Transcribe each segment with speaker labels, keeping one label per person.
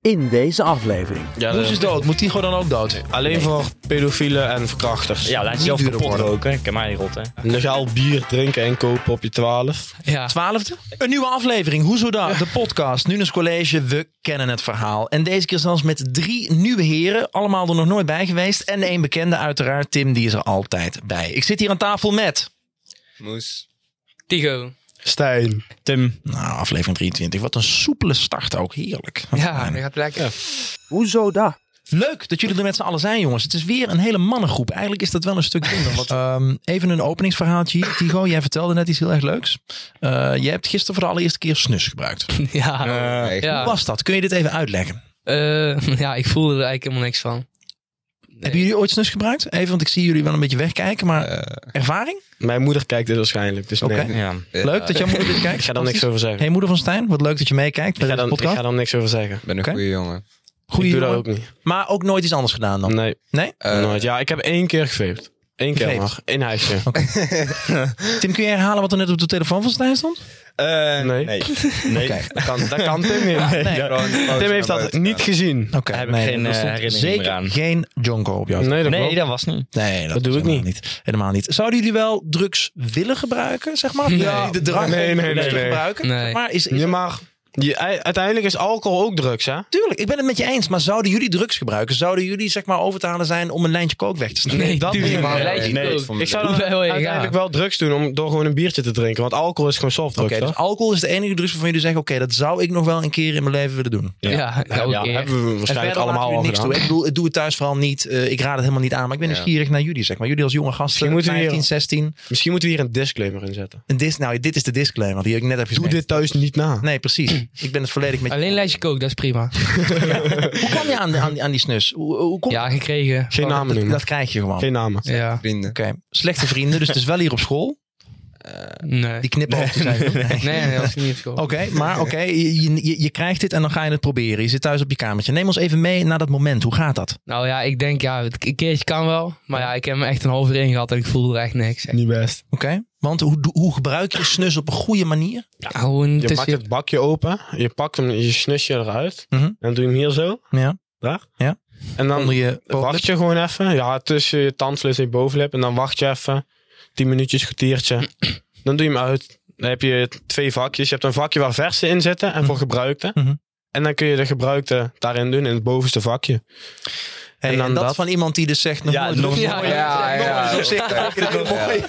Speaker 1: in deze aflevering.
Speaker 2: Ja,
Speaker 3: Moes is
Speaker 2: dat-
Speaker 3: dood. Moet Tigo dan ook dood? Alleen voor pedofielen en verkrachters.
Speaker 2: Ja, laat
Speaker 3: Niet
Speaker 2: jezelf
Speaker 3: duurder
Speaker 2: kapot
Speaker 3: worden.
Speaker 2: roken. Ik ken mij niet rot, hè.
Speaker 3: Legaal bier drinken en kopen op je twaalf.
Speaker 4: Ja.
Speaker 3: Twaalfde?
Speaker 4: Een nieuwe aflevering, Hoezo daar? De podcast, Nunes College, we kennen het verhaal. En deze keer zelfs met drie nieuwe heren, allemaal er nog nooit bij geweest. En één bekende uiteraard, Tim, die is er altijd bij. Ik zit hier aan tafel met...
Speaker 5: Moes.
Speaker 4: Tigo.
Speaker 3: Stijn.
Speaker 2: Tim.
Speaker 4: Nou, aflevering 23. Wat een soepele start ook, heerlijk.
Speaker 5: Ja, dat gaat lekker.
Speaker 1: Hoezo dat?
Speaker 4: Leuk dat jullie er met z'n allen zijn, jongens. Het is weer een hele mannengroep. Eigenlijk is dat wel een stuk minder. Want, ehm, even een openingsverhaaltje hier. Tigo, jij vertelde net iets heel erg leuks. Eh, jij hebt gisteren voor de allereerste keer snus gebruikt. Hoe
Speaker 5: Ja.
Speaker 3: Eh,
Speaker 5: ja.
Speaker 4: was dat? Kun je dit even uitleggen?
Speaker 5: Eh, ja, ik voelde er eigenlijk helemaal niks van.
Speaker 4: Hebben jullie ooit snus gebruikt? Even, want ik zie jullie wel een beetje wegkijken. Maar
Speaker 3: Eh,
Speaker 4: ervaring?
Speaker 3: Mijn moeder kijkt dit waarschijnlijk, dus
Speaker 4: Oké.
Speaker 3: nee.
Speaker 2: Ja.
Speaker 6: Eh,
Speaker 4: Leuk dat jouw moeder dit kijkt.
Speaker 3: Ik ga daar niks
Speaker 4: Fantastisch.
Speaker 3: over zeggen.
Speaker 4: Hey, moeder van Stijn, wat leuk dat je meekijkt
Speaker 3: Ik
Speaker 4: bij
Speaker 3: ga,
Speaker 4: deze
Speaker 3: dan, ik
Speaker 4: podcast.
Speaker 3: ga dan niks over zeggen.
Speaker 5: Ben een
Speaker 4: Oké.
Speaker 5: goede jongen.
Speaker 4: Goeie
Speaker 3: ik doe dat
Speaker 4: jongen.
Speaker 3: ook niet.
Speaker 4: Maar ook nooit iets anders gedaan dan?
Speaker 3: Nee,
Speaker 4: Nee?
Speaker 3: nooit. Ja, ik heb één keer gefeept. Eén keer
Speaker 4: Gefeept?
Speaker 3: maar. Eén huisje.
Speaker 4: Tim, kun je herhalen wat er net op de telefoon van Stijn stond?
Speaker 3: nee.
Speaker 5: nee.
Speaker 3: Nee, dat, kan, dat kan Tim niet.
Speaker 4: nee.
Speaker 3: Tim heeft dat niet gezien.
Speaker 4: Oké,
Speaker 2: Daar heb ik geen,
Speaker 4: er
Speaker 2: eh,
Speaker 4: stond
Speaker 2: herinnering meer
Speaker 4: Zeker
Speaker 2: aan.
Speaker 4: geen jonko op jou.
Speaker 3: Nee, dat
Speaker 2: Nee,
Speaker 3: klopt.
Speaker 2: dat was niet.
Speaker 4: Nee, dat,
Speaker 3: Dat doe
Speaker 4: is
Speaker 3: ik
Speaker 4: helemaal niet. Helemaal niet. Zouden jullie wel drugs willen gebruiken, zeg maar? Of
Speaker 5: Ja.
Speaker 4: jullie de drang
Speaker 3: Nee,
Speaker 4: om
Speaker 3: nee,
Speaker 4: drugs
Speaker 3: nee,
Speaker 4: te
Speaker 3: nee.
Speaker 4: gebruiken?
Speaker 5: Nee.
Speaker 4: Maar is, is-
Speaker 3: Je mag... Je, uiteindelijk is alcohol ook drugs, hè?
Speaker 4: Tuurlijk, ik ben het met je eens. Maar zouden jullie drugs gebruiken? Zouden jullie zeg maar over te halen zijn om een lijntje kook weg te snijden?
Speaker 5: Nee,
Speaker 3: dat
Speaker 5: dat
Speaker 3: niet,
Speaker 5: niet,
Speaker 3: maar-
Speaker 5: man.
Speaker 2: Nee,
Speaker 5: Nee,
Speaker 2: ik vond
Speaker 3: Ik zou
Speaker 5: Hoeveel wil je
Speaker 3: uiteindelijk
Speaker 5: gaan?
Speaker 3: wel drugs doen om, door gewoon een biertje te drinken. Want alcohol is gewoon softdrugs,
Speaker 4: Oké, dus
Speaker 3: toch?
Speaker 4: alcohol is de enige drugs waarvan jullie zeggen... oké, dat zou ik nog wel een keer in mijn leven willen doen. En
Speaker 5: Ja, ja, oké.
Speaker 3: Ja, hebben we waarschijnlijk
Speaker 4: verder laten
Speaker 3: Dus allemaal
Speaker 4: jullie
Speaker 3: al
Speaker 4: niks
Speaker 3: gedaan.
Speaker 4: toe. Ik bedoel, ik doe het thuis vooral niet. Eh, ik raad het helemaal niet aan. Maar ik ben
Speaker 5: Ja.
Speaker 4: nieuwsgierig naar jullie, zeg maar. Jullie als jonge gasten,
Speaker 3: Misschien moeten we hier-
Speaker 4: 15, 16.
Speaker 3: Misschien moeten we hier een disclaimer in zetten.
Speaker 4: En dit, nou, dit is de disclaimer die ik net heb gezegd.
Speaker 3: thuis niet na.
Speaker 4: Nee, precies. Ik ben het volledig met je
Speaker 5: Alleen
Speaker 4: eens.
Speaker 5: lijstje kook, dat is prima.
Speaker 4: Hoe kwam je aan, aan, aan die snus? Hoe, hoe kom
Speaker 5: Ja, gekregen.
Speaker 3: Geen namen
Speaker 4: Oh, dat,
Speaker 3: noemen.
Speaker 4: dat krijg je gewoon.
Speaker 3: Geen namen.
Speaker 5: Ja,
Speaker 6: vrienden.
Speaker 4: Oké, slechte vrienden, dus het is wel hier op school.
Speaker 5: nee.
Speaker 4: Die knippen af te zijn. Nee.
Speaker 5: Nee, nee, dat is niet goed.
Speaker 4: Oké, maar oké, je, je, je krijgt dit en dan ga je het proberen. Je zit thuis op je kamertje. Neem ons even mee naar dat moment. Hoe gaat dat?
Speaker 5: Nou ja, ik denk, ja, het- een keertje kan wel. Maar ja, ik heb hem echt een half uur in gehad en ik voelde er echt niks.
Speaker 3: Niet best.
Speaker 4: Oké, want hoe, doe- hoe gebruik je snus op een goede manier?
Speaker 5: Ja, gewoon
Speaker 3: Je maakt
Speaker 5: tussen...
Speaker 3: het bakje open. Je pakt hem, je snus je eruit.
Speaker 4: Mhm.
Speaker 3: En doe je hem hier zo.
Speaker 4: Ja.
Speaker 3: Daar.
Speaker 4: Ja.
Speaker 3: En dan
Speaker 4: Onder je
Speaker 3: wacht je gewoon even. Ja, tussen je tandvlees en je bovenlip. En dan wacht je even. Tien minuutjes, kwartiertje. dan doe je hem uit. Dan heb je twee vakjes. Je hebt een vakje waar verse in zitten en voor gebruikte.
Speaker 4: Mhm.
Speaker 3: En dan kun je de gebruikte daarin doen in het bovenste vakje.
Speaker 4: Hey, en
Speaker 3: en dan
Speaker 4: dat,
Speaker 3: dat?
Speaker 4: van iemand die dus zegt... Nog
Speaker 2: Ja,
Speaker 4: nooit
Speaker 2: nog
Speaker 4: drugs.
Speaker 5: Ja,
Speaker 6: ja, ja.
Speaker 4: Op zich, dat vind ik een hele mooie-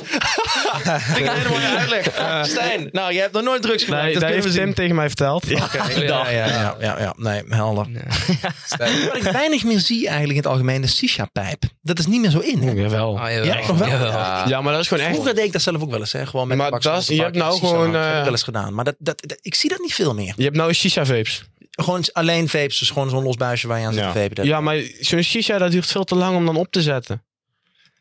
Speaker 4: Vind ik een hele mooie uitleg. Stijn, nou, je hebt nog nooit drugs gebruikt.
Speaker 3: Nee,
Speaker 4: dat
Speaker 3: dat
Speaker 4: kunnen
Speaker 3: heeft
Speaker 4: we zien.
Speaker 3: Tim tegen mij verteld.
Speaker 4: Ja, ja, ja, ja, ja. Nee, helder.
Speaker 5: Nee.
Speaker 6: Stijn.
Speaker 4: Wat ik weinig meer zie eigenlijk in het algemeen, de shisha-pijp. Dat is niet meer zo in. hè?
Speaker 3: Jawel.
Speaker 5: Oh,
Speaker 4: Ja, nog wel?
Speaker 5: Jawel.
Speaker 6: Ah.
Speaker 3: Ja, maar dat is gewoon echt.
Speaker 4: Vroeger deed ik dat zelf ook wel eens, hè? Gewoon met
Speaker 3: Maar
Speaker 4: tabaksrook
Speaker 3: dat is- je
Speaker 4: te
Speaker 3: hebt
Speaker 4: pakken,
Speaker 3: nou
Speaker 4: shisha
Speaker 3: gewoon,
Speaker 4: roken. Dat heb ik
Speaker 3: eh,
Speaker 4: wel eens gedaan. Maar dat, dat, dat- ik zie dat niet veel meer.
Speaker 3: Je hebt nou shisha vapes.
Speaker 4: Gewoon alleen vapes, dus gewoon zo'n los buisje waar je aan zit
Speaker 2: Ja.
Speaker 4: te vapen. Dat-
Speaker 3: Ja, maar zo'n shisha dat duurt veel te lang om dan op te zetten.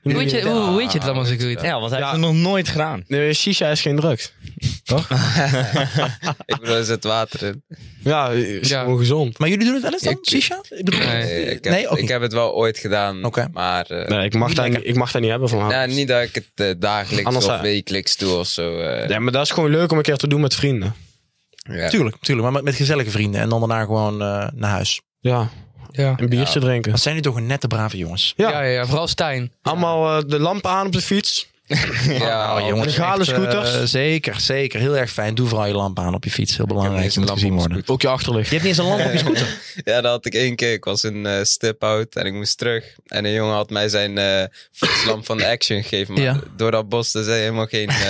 Speaker 5: Hoe weet je, hoe, hoe weet je het allemaal zo goed?
Speaker 2: Ja, want hij
Speaker 3: Ja.
Speaker 2: heeft het nog nooit gedaan.
Speaker 3: Nee, shisha is geen drugs.
Speaker 6: Ik bedoel, er zit water in.
Speaker 3: Ja, is
Speaker 5: Ja.
Speaker 3: gewoon gezond.
Speaker 4: Maar jullie doen het wel eens dan,
Speaker 6: Ik-
Speaker 4: shisha? Ik bedoel,
Speaker 5: Nee.
Speaker 6: Eh, ik heb,
Speaker 4: Nee, ook
Speaker 6: ik
Speaker 4: niet.
Speaker 6: heb het wel ooit gedaan,
Speaker 4: Oké.
Speaker 6: maar... eh,
Speaker 3: Nee, ik mag,
Speaker 4: Niet
Speaker 3: dat,
Speaker 4: lekker.
Speaker 3: niet- ik mag dat niet hebben van haar.
Speaker 6: nou, niet dat ik het eh, dagelijks
Speaker 3: Anders
Speaker 6: of
Speaker 3: zou-
Speaker 6: wekelijks doe of zo. eh,
Speaker 3: Ja, maar dat is gewoon leuk om een keer te doen met vrienden.
Speaker 6: ja.
Speaker 4: Tuurlijk, tuurlijk, maar met, met gezellige vrienden. En dan daarna gewoon eh, naar huis.
Speaker 3: Ja,
Speaker 5: Ja.
Speaker 3: een biertje drinken.
Speaker 4: Wat zijn jullie toch een nette, brave jongens?
Speaker 3: Ja,
Speaker 5: Ja, ja, ja, vooral Stijn.
Speaker 3: allemaal eh, de lamp aan op de fiets.
Speaker 6: Ja,
Speaker 2: Oh,
Speaker 4: Nou, jongens,
Speaker 3: legale
Speaker 4: echt, eh,
Speaker 3: scooters.
Speaker 4: zeker, zeker. Heel erg fijn. Doe vooral je lamp aan op je fiets. Heel
Speaker 6: Ik heb
Speaker 4: belangrijk.
Speaker 6: niet
Speaker 4: Je
Speaker 6: eens
Speaker 4: moet
Speaker 6: een
Speaker 4: gezien
Speaker 6: lamp
Speaker 4: worden.
Speaker 6: op mijn
Speaker 4: Je
Speaker 3: Ook je achterlicht.
Speaker 4: hebt niet eens een lamp op je scooter.
Speaker 6: Ja, dat had ik één keer. Ik was in eh stip-out en ik moest terug. En een jongen had mij zijn eh fietslamp van de Action gegeven. Maar
Speaker 4: Ja.
Speaker 6: door dat bos, daar zijn helemaal geen eh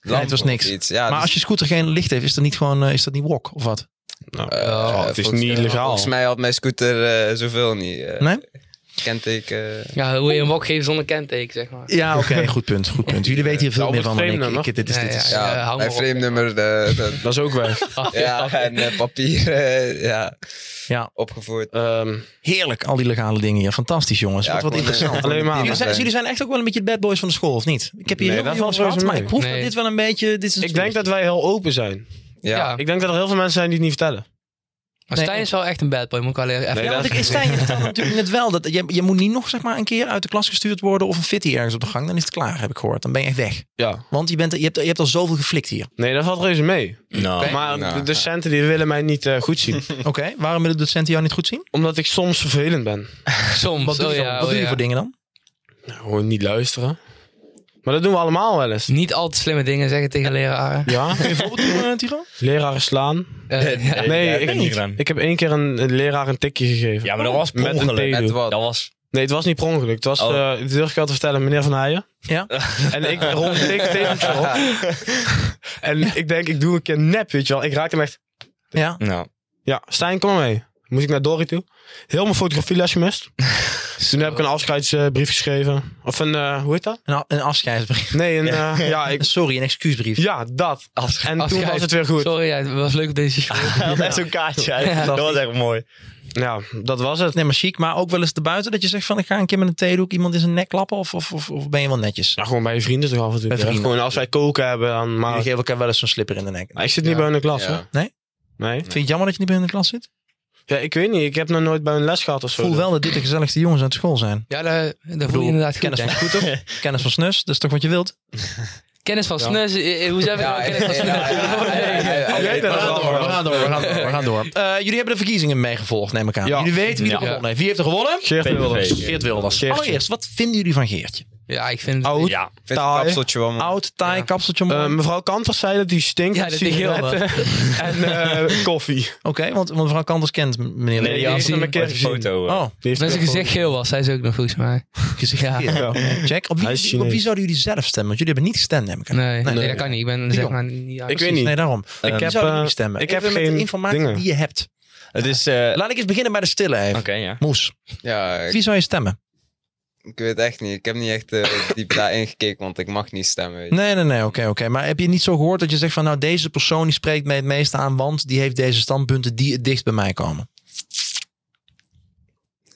Speaker 6: lamp
Speaker 4: het was
Speaker 6: of
Speaker 4: niks.
Speaker 6: Iets. Ja,
Speaker 4: Maar
Speaker 6: dus,
Speaker 4: als je scooter geen licht heeft, is dat niet gewoon eh, is dat niet wok of wat?
Speaker 3: Nou,
Speaker 6: eh,
Speaker 3: ja, het is
Speaker 6: volgens-
Speaker 3: niet legaal.
Speaker 6: Volgens mij had mijn scooter eh zoveel niet. eh,
Speaker 4: Nee?
Speaker 6: Kenteken.
Speaker 5: Ja, hoe je een wok geeft zonder kenteken, zeg maar.
Speaker 4: Ja, oké. Goed punt. Goed punt. Jullie weten hier veel
Speaker 3: Ja,
Speaker 4: meer van dan
Speaker 3: vreemde,
Speaker 4: ik.
Speaker 3: nog.
Speaker 4: ik dit is,
Speaker 5: Ja,
Speaker 4: dit is,
Speaker 5: ja,
Speaker 6: Ja,
Speaker 5: hou maar
Speaker 6: mijn
Speaker 5: op.
Speaker 6: frame-nummer. eh, dat-
Speaker 3: Dat is ook weg.
Speaker 6: ja, en eh, papieren. eh, ja,
Speaker 4: Ja.
Speaker 6: opgevoerd.
Speaker 3: Ehm,
Speaker 4: Heerlijk, al die legale dingen hier. Fantastisch, jongens.
Speaker 6: Ja,
Speaker 4: wat wat
Speaker 6: gewoon, eh,
Speaker 4: interessant.
Speaker 3: alleen maar.
Speaker 4: Jullie zijn, dus jullie zijn echt ook wel een beetje de bad boys van de school, of niet? Ik heb hier
Speaker 3: Nee,
Speaker 4: heel
Speaker 3: dat
Speaker 4: veel jongens
Speaker 3: valt
Speaker 4: gehad,
Speaker 3: reuze
Speaker 4: maar
Speaker 3: mee.
Speaker 4: ik proef
Speaker 5: Nee.
Speaker 4: dat dit wel een beetje... Dit is
Speaker 3: Ik denk dat wij heel open zijn.
Speaker 6: Ja.
Speaker 5: Ja.
Speaker 3: Ik denk dat er heel veel mensen zijn die het niet vertellen.
Speaker 5: Maar
Speaker 4: Nee,
Speaker 5: Stijn is wel echt een bad boy, moet ik wel even...
Speaker 3: Nee,
Speaker 4: Ja, want
Speaker 3: dat-
Speaker 4: ik, Stijn, je vertelde natuurlijk net wel dat je, je moet niet nog zeg maar, een keer uit de klas gestuurd worden of een fitty ergens op de gang. Dan is het klaar, heb ik gehoord. Dan ben je echt weg.
Speaker 3: Ja.
Speaker 4: Want je, bent, je, hebt, je hebt al zoveel geflikt hier.
Speaker 3: Nee, dat valt reuze mee.
Speaker 2: Nou,
Speaker 3: Maar
Speaker 6: Nou,
Speaker 3: de docenten die willen mij niet eh, goed zien.
Speaker 4: Oké, waarom willen de docenten jou niet goed zien?
Speaker 3: Omdat ik soms vervelend ben.
Speaker 5: Soms,
Speaker 4: Wat doe
Speaker 5: oh
Speaker 4: je, dan?
Speaker 5: ja,
Speaker 4: Wat
Speaker 5: oh
Speaker 4: doe je
Speaker 5: ja.
Speaker 4: voor dingen dan?
Speaker 3: Nou, Gewoon niet luisteren. Maar dat doen we allemaal wel eens.
Speaker 5: Niet altijd slimme dingen zeggen tegen leraren.
Speaker 3: Ja,
Speaker 4: Kun je een voorbeeld noemen, eh, Tiro?
Speaker 3: leraren slaan.
Speaker 5: Eh, ja.
Speaker 2: Nee,
Speaker 3: Nee,
Speaker 2: dat
Speaker 3: ik
Speaker 2: heb ik
Speaker 3: niet.
Speaker 2: niet gedaan.
Speaker 3: Ik heb één keer een, een leraar een tikje gegeven.
Speaker 2: ja, maar dat was per
Speaker 3: Met een
Speaker 2: ongeluk.
Speaker 3: theedoek.
Speaker 6: Met
Speaker 2: Dat
Speaker 6: wat?
Speaker 2: was...
Speaker 3: Nee, het was niet per ongeluk. Het was,
Speaker 2: Oh.
Speaker 3: eh, durf ik wel te vertellen, meneer Van Heijen.
Speaker 4: Ja.
Speaker 3: En ik rol een tik tegen hem op. En ik denk, ik doe een keer nep, weet je wel. Ik raak hem echt...
Speaker 4: Ja.
Speaker 2: Nou,
Speaker 3: Ja, Stijn, kom maar mee. Moest ik naar Dorry toe. Heel mijn fotografielesje mist. Toen heb ik een afscheidsbrief geschreven. Of een, eh, hoe heet dat?
Speaker 4: Een, a- een afscheidsbrief.
Speaker 3: Nee, een, eh, ja, ik,
Speaker 4: Sorry, een excuusbrief.
Speaker 3: ja, dat. En toen was
Speaker 5: Afscheid.
Speaker 3: het weer goed.
Speaker 5: Sorry, ja, het was leuk op deze show.
Speaker 2: hij had echt zo'n kaartje. uit.
Speaker 5: Ja.
Speaker 2: dat was echt mooi.
Speaker 3: Ja, dat was het.
Speaker 4: Nee, maar chic. Maar ook wel eens erbuiten dat je zegt van ik ga een keer met een theedoek iemand in zijn nek klappen. Of, of, of, of ben je wel netjes?
Speaker 3: Ja, gewoon bij je vrienden toch af en toe.
Speaker 4: Bij
Speaker 3: Ja,
Speaker 4: vrienden.
Speaker 3: Gewoon als wij koken hebben, dan maar...
Speaker 4: Jullie geven elkaar wel eens zo'n slipper in de nek.
Speaker 3: Maar ik zit niet
Speaker 6: Ja.
Speaker 3: bij hun in de klas,
Speaker 6: Ja.
Speaker 3: hoor.
Speaker 4: Nee?
Speaker 3: Nee.
Speaker 4: Vind je het jammer dat je niet bij hun in de klas zit?
Speaker 3: Ja, ik weet niet. Ik heb nog nooit bij hun les gehad of
Speaker 4: Ik
Speaker 3: zo.
Speaker 4: voel wel dat dit de gezelligste jongens uit school zijn.
Speaker 5: Ja, daar, daar voel
Speaker 4: bedoel,
Speaker 5: je inderdaad goed,
Speaker 4: Kennis
Speaker 5: denk
Speaker 4: van,
Speaker 5: ik.
Speaker 4: goed, toch? kennis van snus, dat is toch wat je wilt?
Speaker 5: Kennis van
Speaker 3: Ja.
Speaker 5: snus, eh, eh, hoe zijn we nou kennis van snus?
Speaker 3: Jij
Speaker 4: We
Speaker 3: bent
Speaker 4: gaan
Speaker 3: wel
Speaker 4: door, we
Speaker 3: hoor.
Speaker 4: gaan door, we gaan door. We gaan door. Eh, jullie hebben de verkiezingen meegevolgd, neem ik aan.
Speaker 3: Ja.
Speaker 4: Jullie weten wie er
Speaker 2: Ja.
Speaker 4: gewonnen heeft. Wie heeft er gewonnen?
Speaker 3: Geert Wilders.
Speaker 2: PVV.
Speaker 4: Geert Wilders.
Speaker 3: Geertje.
Speaker 4: Allereerst, wat vinden jullie van Geertje?
Speaker 5: Ja, ik vind het...
Speaker 3: Oud.
Speaker 2: Ja.
Speaker 6: Vind het
Speaker 3: Taai.
Speaker 6: kapseltje wel mooi.
Speaker 4: Oud, taai,
Speaker 5: Ja.
Speaker 4: kapseltje mooi.
Speaker 3: Eh, mevrouw Kanters zei dat die stinkt.
Speaker 5: Ja,
Speaker 3: met
Speaker 5: dat die heel wat.
Speaker 3: sigaretten En eh, koffie.
Speaker 4: Oké, want, want mevrouw Kanders kent meneer
Speaker 2: Nee, die
Speaker 4: Leeuwen.
Speaker 2: had
Speaker 3: heeft hem
Speaker 2: een
Speaker 3: een keer
Speaker 2: keer
Speaker 3: gezien.
Speaker 2: foto. eh.
Speaker 4: Oh,
Speaker 3: Die heeft
Speaker 5: Als zijn
Speaker 3: heel
Speaker 5: gezicht
Speaker 3: veel-
Speaker 5: geel was, zij is ook nog volgens mij.
Speaker 4: gezicht.
Speaker 5: Ja.
Speaker 4: Geert.
Speaker 3: Ja.
Speaker 4: Check. Op wie,
Speaker 3: Hij is
Speaker 4: op wie
Speaker 3: Chinees.
Speaker 4: zouden jullie zelf stemmen? Want jullie hebben niet gestemd, neem ik aan.
Speaker 5: Nee, nee,
Speaker 4: nee.
Speaker 5: dat kan niet. Ik ben zeg maar niet... ja,
Speaker 3: Ik weet
Speaker 5: precies.
Speaker 3: niet.
Speaker 4: Nee, daarom. Ehm,
Speaker 3: Ik
Speaker 4: Wie
Speaker 3: heb,
Speaker 4: zouden jullie
Speaker 3: eh,
Speaker 4: stemmen?
Speaker 3: ik heb
Speaker 4: Even met
Speaker 3: geen
Speaker 4: de informatie
Speaker 3: dingen.
Speaker 4: die je hebt.
Speaker 2: Het is... eh,
Speaker 4: Laat ik eens beginnen bij de stille even.
Speaker 2: Oké, ja.
Speaker 4: Moes,
Speaker 6: Ja, ik,
Speaker 4: wie zou je stemmen?
Speaker 6: ik weet echt niet. Ik heb niet echt eh, diep daarin gekeken, want ik mag niet stemmen. weet je.
Speaker 4: Nee, nee, nee, oké, oké. Maar heb je niet zo gehoord dat je zegt van nou deze persoon die spreekt mij het meeste aan, want die heeft deze standpunten die het dichtst bij mij komen?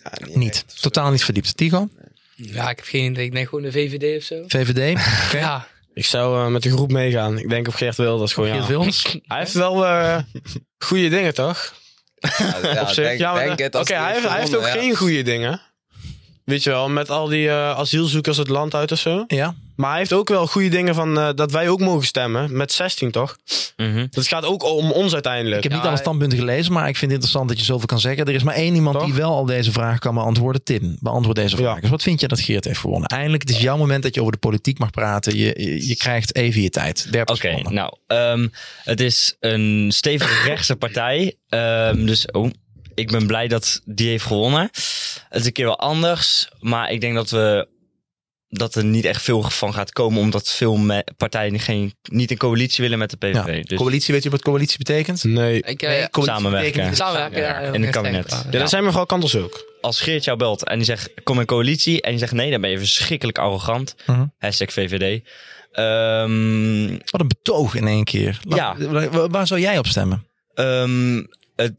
Speaker 6: Ja,
Speaker 4: Niet.
Speaker 6: echt of zo.
Speaker 4: Totaal niet verdiept. Tigo?
Speaker 5: Ja, ik heb geen idee. Ik denk gewoon de VVD of zo.
Speaker 4: VVD?
Speaker 5: Ja,
Speaker 3: Ik zou eh, met de groep meegaan. Ik denk op Geert Wilders gewoon, ja.
Speaker 4: Geert Wilders?
Speaker 3: Hij heeft wel eh, goede dingen, toch?
Speaker 6: Ja, ja,
Speaker 3: op zich.
Speaker 6: denk-
Speaker 3: ja, maar
Speaker 6: denk
Speaker 3: de-
Speaker 6: het
Speaker 3: Oké,
Speaker 6: als die
Speaker 3: hij, heeft, hij heeft ook
Speaker 6: gewonnen, ja.
Speaker 3: geen goede dingen. Weet je wel, met al die eh, asielzoekers het land uit of zo.
Speaker 4: Ja.
Speaker 3: Maar hij heeft ook wel goede dingen van eh, dat wij ook mogen stemmen. Met 16, toch?
Speaker 2: Mhm.
Speaker 3: Dat gaat ook om ons uiteindelijk.
Speaker 4: Ik heb niet
Speaker 5: Ja,
Speaker 4: alle standpunten gelezen, maar ik vind het interessant dat je zoveel kan zeggen. Er is maar één iemand
Speaker 3: Toch?
Speaker 4: die wel al deze vraag kan beantwoorden. Tim, beantwoord deze vraag.
Speaker 3: Ja.
Speaker 4: Dus wat vind je dat Geert heeft gewonnen? Eindelijk, het is jouw moment dat je over de politiek mag praten. Je, je, je krijgt even je tijd. 30
Speaker 2: Oké,
Speaker 4: seconden.
Speaker 2: nou, ehm, het is een stevig rechtse partij. Ehm, dus oh, ik ben blij dat die heeft gewonnen. Het is een keer wel anders, maar ik denk dat we dat er niet echt veel van gaat komen, omdat veel me- partijen geen, niet in coalitie willen met de PVV.
Speaker 4: Ja.
Speaker 2: Dus
Speaker 4: Coalitie, weet je wat coalitie betekent?
Speaker 3: Nee.
Speaker 5: ik... eh,
Speaker 4: Nee, coalitie
Speaker 2: samenwerken.
Speaker 4: betekent niet-
Speaker 5: Samenwerken. ja,
Speaker 2: in het
Speaker 5: heel
Speaker 2: kabinet.
Speaker 5: sterk.
Speaker 3: Ja, dat zijn mevrouw Kantels ook.
Speaker 2: als Geert jou belt en die zegt kom in coalitie en je zegt nee, dan ben je verschrikkelijk arrogant.
Speaker 4: Mhm.
Speaker 2: Hashtag VVD. Ehm,
Speaker 4: Wat een betoog in één keer. Laat- Waar, waar zou jij op stemmen?
Speaker 2: ehm, het-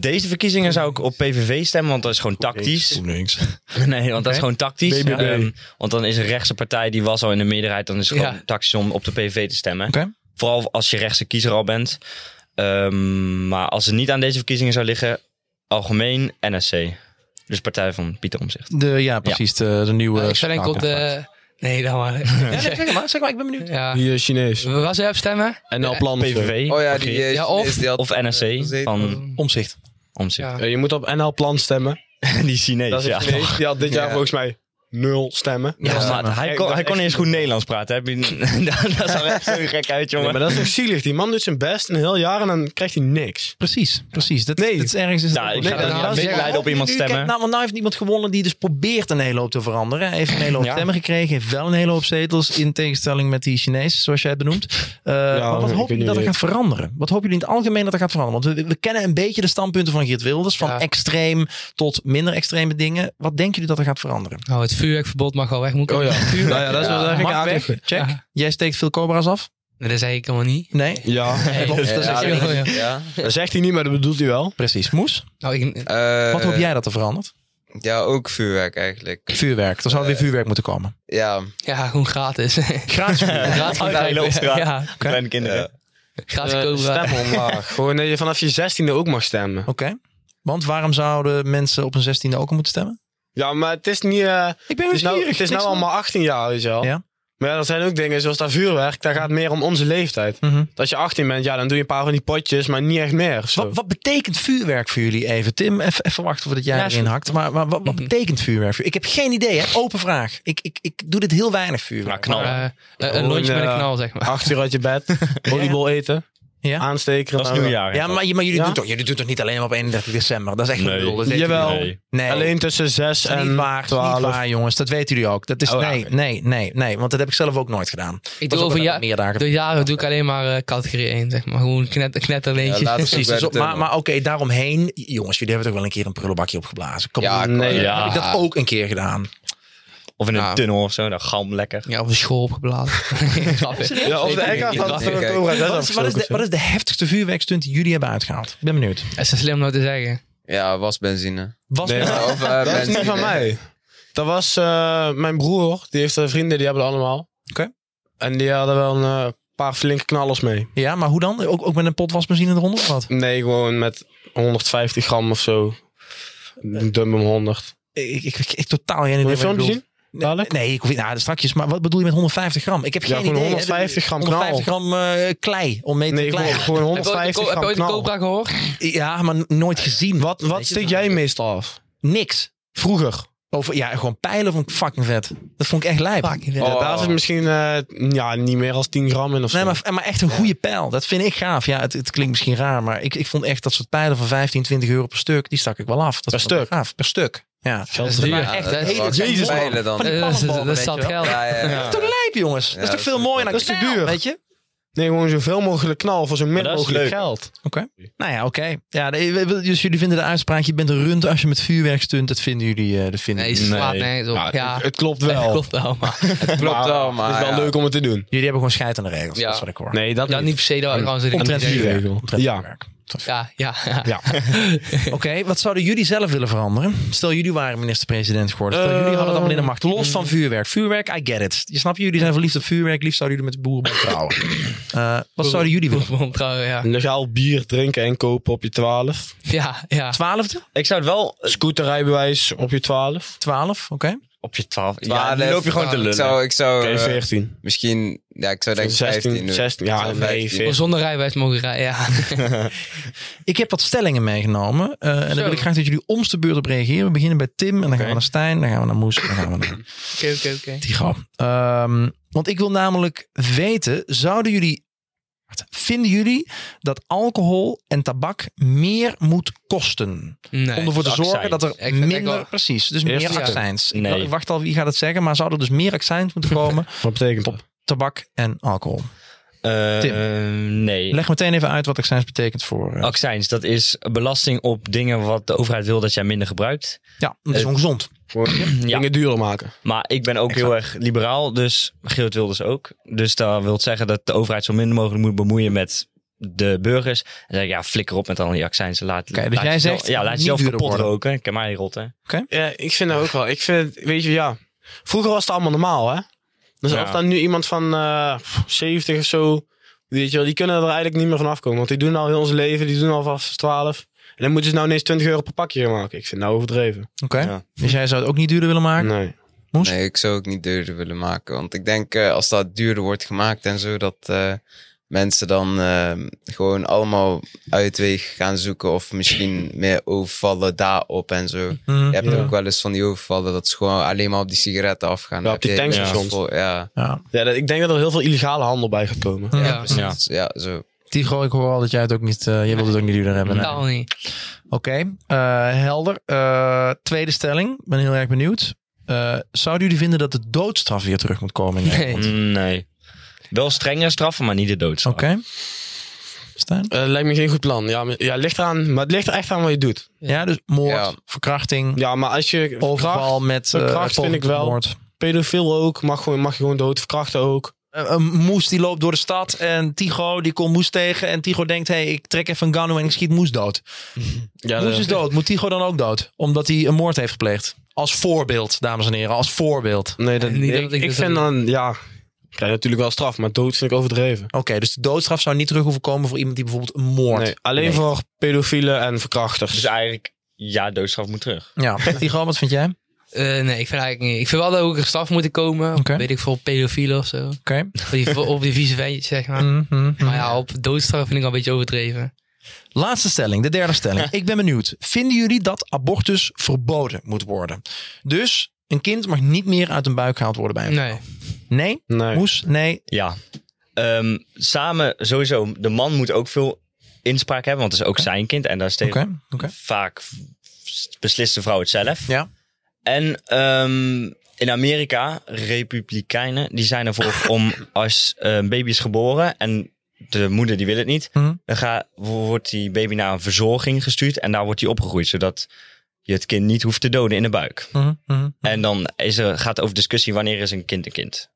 Speaker 2: deze verkiezingen zou ik op PVV stemmen, want dat is gewoon tactisch.
Speaker 4: Links.
Speaker 2: Nee, want dat is gewoon tactisch.
Speaker 4: BBB.
Speaker 2: Ehm, want dan is een rechtse partij die was al in de meerderheid. Dan is het gewoon
Speaker 5: Ja.
Speaker 2: tactisch om op de PVV te stemmen.
Speaker 4: Oké.
Speaker 2: Vooral als je rechtse kiezer al bent. Ehm, maar als het niet aan deze verkiezingen zou liggen, algemeen NSC. Dus partij van Pieter Omzicht.
Speaker 4: De, ja, precies. De, de nieuwe.
Speaker 5: ik zou denk ik op de... Nee, dan maar.
Speaker 4: Ja, nee, zeg maar, zeg maar, ik ben benieuwd.
Speaker 5: Ja.
Speaker 3: Die eh, Chinees.
Speaker 5: We gaan ze op stemmen.
Speaker 3: En op land.
Speaker 2: PVV.
Speaker 6: Oh ja,
Speaker 2: of
Speaker 6: die
Speaker 2: Geert.
Speaker 6: eh,
Speaker 5: Ja, of-
Speaker 6: Chinees die had- eh,
Speaker 2: Of NSC
Speaker 6: gezeten.
Speaker 2: van
Speaker 4: Omzicht.
Speaker 2: Omzicht.
Speaker 5: Ja.
Speaker 3: Eh, je moet op NL Plan stemmen.
Speaker 2: Die Chinees,
Speaker 3: Dat is
Speaker 2: ja.
Speaker 3: een Chinees. Die had dit jaar
Speaker 6: Ja.
Speaker 3: volgens mij nul stemmen.
Speaker 2: Ja, maar hij kon,
Speaker 3: Ja,
Speaker 2: hij kon niet eens goed Nederlands praten. Heb je, dat, dat zag er echt zo gek uit, jongen.
Speaker 3: Nee, maar dat is toch zielig. Die man doet zijn best een heel jaar en dan krijgt hij niks.
Speaker 4: Precies, precies. Dat,
Speaker 3: Nee.
Speaker 4: dat is ergens. Is
Speaker 2: Nou,
Speaker 4: dat-
Speaker 2: ik ga
Speaker 3: Nee,
Speaker 2: er
Speaker 3: dat-
Speaker 2: niet aan
Speaker 3: dat is-
Speaker 2: medelijden op iemand
Speaker 4: Nu, kijk,
Speaker 2: stemmen.
Speaker 4: nou, want nou heeft iemand gewonnen die dus probeert een hele hoop te veranderen. Hij heeft een hele hoop
Speaker 2: Ja.
Speaker 4: stemmen gekregen. Heeft wel een hele hoop zetels. In tegenstelling met die Chinees, zoals jij het benoemt. Eh, maar wat
Speaker 3: ik
Speaker 4: hopen
Speaker 3: weet
Speaker 4: jullie dat er
Speaker 3: niet.
Speaker 4: gaat veranderen? Wat hopen jullie in het algemeen dat er gaat veranderen? Want we, we kennen een beetje de standpunten van Geert Wilders. Van
Speaker 5: Ja.
Speaker 4: extreem tot minder extreme dingen. Wat denken jullie dat er gaat veranderen?
Speaker 5: Nou, het vuurwerkverbod mag al weg moeten.
Speaker 3: Oh ja.
Speaker 5: Vuurwerk.
Speaker 3: Nou ja, dat is wel eigenlijk
Speaker 4: Mag
Speaker 3: aardig.
Speaker 4: weg. Check.
Speaker 5: Ja.
Speaker 4: Jij steekt veel cobra's af?
Speaker 5: Nee, Dat zeg ik helemaal niet.
Speaker 4: Nee?
Speaker 3: Ja,
Speaker 5: Nee,
Speaker 4: klopt.
Speaker 5: dat
Speaker 4: dus Dat
Speaker 5: is
Speaker 4: is
Speaker 5: echt heel goed, ja.
Speaker 6: Ja.
Speaker 3: dat zegt hij niet, maar dat bedoelt hij wel.
Speaker 4: Precies. Moes,
Speaker 5: Nou, ik,
Speaker 6: Eh,
Speaker 4: wat hoop jij dat er verandert?
Speaker 6: Ja, ook vuurwerk eigenlijk.
Speaker 4: Vuurwerk. Er zou weer vuurwerk moeten komen.
Speaker 6: Ja,
Speaker 5: ja, gewoon gratis.
Speaker 4: Eh, Gratis vuurwerk.
Speaker 5: Gratis
Speaker 3: Oh,
Speaker 2: Uitdelen op straat.
Speaker 5: Ja.
Speaker 2: Kleine kinderen.
Speaker 6: Ja.
Speaker 5: Graaf
Speaker 3: Eh,
Speaker 5: Cobra.
Speaker 3: stem omlaag. Gewoon dat je vanaf je zestiende ook mag stemmen.
Speaker 4: Oké. Want waarom zouden mensen op hun 16e ook al moeten stemmen?
Speaker 3: Ja, maar het is niet... eh,
Speaker 4: Ik ben
Speaker 3: het is nou, het is nou allemaal 18 jaar, weet je wel.
Speaker 4: Ja.
Speaker 3: Maar ja, er zijn ook dingen zoals dat vuurwerk. Daar gaat meer om onze leeftijd.
Speaker 4: Mhm.
Speaker 3: Als je 18 bent, ja, dan doe je een paar van die potjes, maar niet echt meer. of Zo.
Speaker 4: Wat, wat betekent vuurwerk voor jullie even? Tim, even, even wachten voordat jij
Speaker 5: Ja, is
Speaker 4: erin
Speaker 5: goed.
Speaker 4: hakt. Maar, maar wat, wat
Speaker 5: Mhm.
Speaker 4: betekent vuurwerk? voor- Ik heb geen idee, hè? open vraag. Ik, ik, ik doe dit heel weinig
Speaker 2: Ja,
Speaker 4: vuurwerk.
Speaker 2: knal.
Speaker 5: Eh, eh, een
Speaker 3: Oh. Gewoon,
Speaker 5: lontje met een
Speaker 3: eh,
Speaker 5: knal, zeg maar.
Speaker 3: Acht uur uit je bed, volleybal eten,
Speaker 4: Ja.
Speaker 3: aansteken.
Speaker 2: Dat is
Speaker 3: nou,
Speaker 2: nieuwjaar.
Speaker 4: ja, maar, je- maar jullie,
Speaker 3: Ja?
Speaker 4: doen toch, jullie doen toch niet alleen maar op 31 december? Dat is echt
Speaker 2: Nee.
Speaker 4: een lul. Dat weten
Speaker 3: Jawel.
Speaker 4: jullie ook.
Speaker 2: Nee.
Speaker 4: Nee.
Speaker 3: Alleen tussen 6
Speaker 4: Dat is
Speaker 3: en
Speaker 4: niet waar, dat is
Speaker 3: 12.
Speaker 4: niet waar, jongens. Dat weten jullie ook. Dat is
Speaker 3: Oh, ja,
Speaker 4: nee,
Speaker 3: oké.
Speaker 4: nee, nee, nee. Want dat heb ik zelf ook nooit gedaan.
Speaker 5: Ik
Speaker 4: Was
Speaker 5: doe
Speaker 4: ook
Speaker 5: over
Speaker 4: wel
Speaker 5: ja,
Speaker 4: meer dagen.
Speaker 5: door jaren doe ik alleen maar eh, categorie 1, zeg maar. Gewoon knet, knetterleentjes.
Speaker 6: laat het
Speaker 4: Precies.
Speaker 6: ook
Speaker 4: Dus
Speaker 6: bij de
Speaker 4: op- maar
Speaker 6: tunnel.
Speaker 4: maar oké, daaromheen. Jongens, jullie hebben toch wel een keer een prullenbakje opgeblazen. Kom
Speaker 6: Ja,
Speaker 4: op.
Speaker 6: kom.
Speaker 3: Nee,
Speaker 2: Ja.
Speaker 4: Heb ik dat ook een keer gedaan?
Speaker 2: Of in een
Speaker 5: Ja.
Speaker 2: tunnel of zo. Dan galm lekker.
Speaker 5: ja, of een school opgeblazen. Grapje.
Speaker 3: Ja, of de
Speaker 5: Ik-
Speaker 3: hek had
Speaker 5: ik-
Speaker 3: dat
Speaker 5: ik-
Speaker 3: van de Cobra
Speaker 4: Wat is, wat is de, wat is de heftigste vuurwerkstunt die jullie hebben uitgehaald? Ik ben benieuwd.
Speaker 5: Dat is te slim om dat te zeggen.
Speaker 6: Ja, wasbenzine.
Speaker 4: Was
Speaker 3: Nee, maar-
Speaker 6: Of, eh,
Speaker 3: Dat is
Speaker 6: benzine.
Speaker 3: niet van mij. Dat was eh, mijn broer. Die heeft eh, vrienden, die hebben dat allemaal.
Speaker 4: Oké.
Speaker 3: En die hadden wel een eh, paar flinke knallers mee.
Speaker 4: Ja, maar hoe dan? Ook, ook met een pot wasmachine eronder of wat?
Speaker 3: Nee, gewoon met 150 gram of
Speaker 5: Eh.
Speaker 3: zo. Dumb hem 100.
Speaker 4: Ik, ik, ik, ik totaal geen idee.
Speaker 3: Wil
Speaker 4: wat je
Speaker 3: je een filmpje
Speaker 4: bedoelt.
Speaker 3: zien? Dadelijk?
Speaker 4: Nee, ik hoef niet. Nou, straks. Maar wat bedoel je met 150 gram? Ik heb
Speaker 3: Ja,
Speaker 4: geen
Speaker 3: gewoon
Speaker 4: idee. hè.
Speaker 3: 150 gram knal.
Speaker 4: 150 gram eh, klei om mee te
Speaker 3: Nee, gewoon,
Speaker 4: kleien.
Speaker 3: gewoon
Speaker 5: Heb je ooit de
Speaker 3: 150
Speaker 5: ko- heb je
Speaker 3: gram
Speaker 5: ooit de
Speaker 3: knal.
Speaker 5: Cobra gehoord?
Speaker 4: Ja, maar nooit gezien.
Speaker 3: Wat, wat
Speaker 4: Weet je
Speaker 3: steek
Speaker 4: wel.
Speaker 5: nou?
Speaker 3: jij meestal af?
Speaker 4: Niks.
Speaker 3: Vroeger.
Speaker 4: Over, ja, gewoon pijlen vond ik fucking vet. Dat vond ik echt lijp.
Speaker 5: Fucking vet.
Speaker 3: Ja, daar zit misschien eh, ja, niet meer als 10 gram in of zo.
Speaker 4: Nee, maar, maar echt een goede pijl. Dat vind ik gaaf. Ja, het, het klinkt misschien raar, maar ik, ik vond echt dat soort pijlen van 15, 20 euro per stuk, die stak ik wel af. Dat
Speaker 3: Per
Speaker 4: vond ik wel
Speaker 3: stuk?
Speaker 4: Gaaf. Per stuk. Ja.
Speaker 5: Dat is
Speaker 3: Ja,
Speaker 5: duur.
Speaker 6: Ja,
Speaker 5: Echt,
Speaker 6: dat
Speaker 5: hè?
Speaker 6: is wel
Speaker 4: Jezus,
Speaker 6: geen pijlen
Speaker 4: man.
Speaker 6: dan.
Speaker 4: Van die
Speaker 5: Oh, Dat is-
Speaker 4: pannenballen,
Speaker 5: dat
Speaker 4: weet
Speaker 5: staat
Speaker 4: je wel.
Speaker 5: geld.
Speaker 6: Ja, ja, ja.
Speaker 4: Dat is toch lijp, jongens? dat is toch
Speaker 6: dat
Speaker 4: veel
Speaker 6: is-
Speaker 4: mooier dan
Speaker 6: dat is
Speaker 3: te
Speaker 4: knel,
Speaker 3: duur.
Speaker 4: weet je?
Speaker 3: Nee, gewoon zoveel mogelijk knal voor zo min
Speaker 2: Maar dat is
Speaker 3: mogelijk
Speaker 2: leuk.
Speaker 3: geld.
Speaker 4: Nou ja, oké. Ja, de- dus jullie vinden de uitspraak, je bent een rund als je met vuurwerk stunt. Dat vinden jullie, eh dat vinden
Speaker 5: Nee,
Speaker 4: jullie.
Speaker 5: je slaat
Speaker 2: Nee.
Speaker 5: nergens op. Ja,
Speaker 3: Het, het klopt
Speaker 5: dat
Speaker 3: wel.
Speaker 5: klopt wel, maar...
Speaker 6: Het klopt wel, maar...
Speaker 3: Het is wel
Speaker 6: ja.
Speaker 3: leuk om het te doen.
Speaker 4: Jullie hebben gewoon scheid aan de regels,
Speaker 5: Ja.
Speaker 4: dat is wat ik hoor.
Speaker 3: Nee, dat
Speaker 5: Ja, niet per se dat trouwens. dat ik
Speaker 4: Omtrent
Speaker 5: niet zeg.
Speaker 4: vuurwerk.
Speaker 3: regel.
Speaker 4: Omtrent
Speaker 3: Ja.
Speaker 4: vuurwerk.
Speaker 5: Ja, ja, ja.
Speaker 3: Ja.
Speaker 4: Oké, wat zouden jullie zelf willen veranderen? Stel, jullie waren minister-president geworden. Stel,
Speaker 3: Eh,
Speaker 4: jullie hadden het allemaal in de
Speaker 5: Ehm,
Speaker 4: macht.
Speaker 5: mm.
Speaker 4: Los van vuurwerk. Vuurwerk, I get it. Je snapt, jullie zijn verliefd op vuurwerk. Liefst zouden jullie met de boerenbond trouwen. Eh, wat zouden jullie willen?
Speaker 5: Boerenbond trouwen, ja.
Speaker 3: Legaal bier drinken en kopen op je 12.
Speaker 5: Ja, ja.
Speaker 4: Twaalfde?
Speaker 2: Ik zou het wel
Speaker 3: Scooterrijbewijs op je 12.
Speaker 4: Twaalf, oké.
Speaker 2: op je 12. Ja,
Speaker 6: Twaalf,
Speaker 2: dan loop je gewoon te
Speaker 6: Ik
Speaker 2: lullen.
Speaker 6: zou, ik zou
Speaker 3: Oké,
Speaker 6: eh,
Speaker 3: 14.
Speaker 6: misschien... Ja, ik zou denk ik 15
Speaker 3: 16.
Speaker 6: doen.
Speaker 3: 16
Speaker 6: Ik
Speaker 3: ja,
Speaker 6: zou
Speaker 3: nee,
Speaker 6: 15.
Speaker 3: 14.
Speaker 5: Zonder rijbewijs mogen rijden, ja.
Speaker 4: Ik heb wat stellingen meegenomen. eh, en
Speaker 5: Zo.
Speaker 4: dan wil ik graag dat jullie om de beurt op reageren. We beginnen bij Tim en dan gaan we
Speaker 2: Oké.
Speaker 4: naar Stijn. Dan gaan we naar Moes. Dan gaan we naar
Speaker 5: Oké, oké, oké.
Speaker 4: Tigo. Ehm, want ik wil namelijk weten, zouden jullie, wacht, vinden jullie dat alcohol en tabak meer moet kosten?
Speaker 5: Nee.
Speaker 4: om ervoor te
Speaker 2: de
Speaker 4: zorgen
Speaker 2: accijns.
Speaker 4: dat er
Speaker 5: Ik- ik
Speaker 4: minder,
Speaker 5: wel-
Speaker 4: precies, dus
Speaker 3: Eerst
Speaker 4: meer
Speaker 5: ja.
Speaker 4: accijns. Ik
Speaker 2: Nee.
Speaker 4: wa- Ik wacht al, wie gaat het zeggen, maar zou er dus meer accijns moeten komen
Speaker 3: Wat betekent dat?
Speaker 4: tabak en alcohol?
Speaker 2: Eh,
Speaker 4: Tim.
Speaker 2: nee.
Speaker 4: Leg meteen even uit wat accijns betekent voor... eh,
Speaker 2: Accijns, dat is belasting op dingen wat de overheid wil dat jij minder gebruikt.
Speaker 4: ja, dat is
Speaker 2: eh,
Speaker 4: ongezond.
Speaker 2: Ja,
Speaker 3: Dingen duurder maken.
Speaker 2: maar ik ben ook heel erg liberaal, dus Geert Wilders ook. Dus dat wil zeggen dat de overheid zo minder mogelijk moet bemoeien met de burgers. En zeg ik, ja, flikker op met al die accijns. Laat,
Speaker 4: Oké, dus
Speaker 2: laat
Speaker 4: jij
Speaker 2: jezelf-
Speaker 4: zegt
Speaker 2: ja, laat
Speaker 4: niet
Speaker 2: jezelf
Speaker 4: duurder
Speaker 2: kapot
Speaker 4: worden.
Speaker 2: roken. Ik ken mij rotten.
Speaker 3: Ja, ik vind dat ook wel. Ik vind, weet je, ja. Vroeger was het allemaal normaal, hè? Dus
Speaker 2: Ja.
Speaker 3: als dan nu iemand van eh, 70 of zo, weet je wel, die kunnen er eigenlijk niet meer van afkomen. Want die doen al heel ons leven, die doen al vanaf 12. En dan moeten ze nou ineens 20 euro per pakje gaan maken. Ik vind dat overdreven.
Speaker 4: Oké,
Speaker 2: ja.
Speaker 4: dus jij zou het ook niet duurder willen maken?
Speaker 3: Nee.
Speaker 6: Nee, ik zou ook niet duurder willen maken. Want ik denk eh, als dat duurder wordt gemaakt en zo, dat eh, mensen dan eh, gewoon allemaal uitweg gaan zoeken. Of misschien meer overvallen daarop en zo.
Speaker 4: Mhm.
Speaker 6: Je hebt
Speaker 3: Ja.
Speaker 6: ook wel eens van die overvallen dat ze gewoon alleen maar op die sigaretten afgaan.
Speaker 3: Ja, op die
Speaker 6: Heb je-
Speaker 3: tankstations.
Speaker 6: Ja, ja,
Speaker 4: Ja.
Speaker 3: Ja, dat- ik denk dat er heel veel illegale handel bij gaat komen.
Speaker 5: Ja,
Speaker 6: precies.
Speaker 2: Ja.
Speaker 6: Ja. zo.
Speaker 4: Tigo, ik hoor al dat jij het ook niet, eh, jij wilde het ook niet duurder hebben.
Speaker 5: Totaal niet.
Speaker 4: Oké, eh, helder. Eh, tweede stelling, ben heel erg benieuwd. Eh, zouden jullie vinden dat de doodstraf weer terug moet komen? in Nederland?
Speaker 5: Nee.
Speaker 2: Mm, Nee. Wel strengere straffen, maar niet de doodstraf.
Speaker 4: Oké. Stijn?
Speaker 3: Eh, lijkt me geen goed plan. Ja, maar, ja, ligt eraan, maar het ligt er echt aan wat je doet.
Speaker 4: Ja, dus moord,
Speaker 6: Ja.
Speaker 4: verkrachting,
Speaker 3: Ja, maar als je
Speaker 4: overval
Speaker 3: verkracht,
Speaker 4: met eh,
Speaker 3: verkracht vind
Speaker 4: poging
Speaker 3: ik
Speaker 4: tot
Speaker 3: wel.
Speaker 4: moord.
Speaker 3: pedofiel ook, mag, gewoon, mag je gewoon dood verkrachten ook.
Speaker 4: Eh, een moes die loopt door de stad en Tigo die komt moes tegen en Tigo denkt, hey, ik trek even een Gano en ik schiet moes dood.
Speaker 3: Ja,
Speaker 4: moes is dood, moet Tigo dan ook dood? Omdat hij een moord heeft gepleegd. Als voorbeeld, dames en heren, als voorbeeld.
Speaker 3: Nee, dat,
Speaker 5: Niet dat
Speaker 4: dus
Speaker 3: ik,
Speaker 5: ik
Speaker 3: ik
Speaker 5: dat
Speaker 3: vind
Speaker 5: doe.
Speaker 3: dan, ja, Krijg je natuurlijk wel straf, maar dood vind ik overdreven.
Speaker 4: Oké, dus de doodstraf zou niet terug hoeven komen voor iemand die bijvoorbeeld een moord.
Speaker 3: Nee, alleen voor pedofielen en verkrachters.
Speaker 2: Dus eigenlijk, ja, doodstraf moet terug.
Speaker 4: Ja, Patty Gal, wat vind jij? Oké.
Speaker 5: Eh, nee, ik vind eigenlijk niet. Ik vind wel dat ook er straf moeten komen. op,
Speaker 4: Oké.
Speaker 5: Weet ik veel, pedofielen of zo. Op die, op die vieze ventjes, zeg maar.
Speaker 4: Mhm, mhm.
Speaker 5: Maar ja, op doodstraf vind ik al een beetje overdreven.
Speaker 4: Laatste stelling, de derde stelling. Ik ben benieuwd. Vinden jullie dat abortus verboden moet worden? Dus een kind mag niet meer uit een buik gehaald worden bij een
Speaker 5: Nee.
Speaker 4: vrouw. Nee?
Speaker 3: Nee.
Speaker 4: Moes? Nee.
Speaker 2: Ja. Ehm, samen, sowieso, de man moet ook veel inspraak hebben, want het is ook zijn kind. En daar steeds
Speaker 4: Oké. oké.
Speaker 2: vaak v- beslist de vrouw het zelf.
Speaker 4: Ja.
Speaker 2: En ehm, in Amerika, republikeinen, die zijn ervoor om als eh, baby is geboren en de moeder die wil het niet,
Speaker 4: Mhm.
Speaker 2: dan ga, wordt die baby naar een verzorging gestuurd en daar wordt die opgegroeid, zodat je het kind niet hoeft te doden in de buik.
Speaker 4: Mhm, mhm.
Speaker 2: En dan is er, gaat het over discussie wanneer is een kind een kind.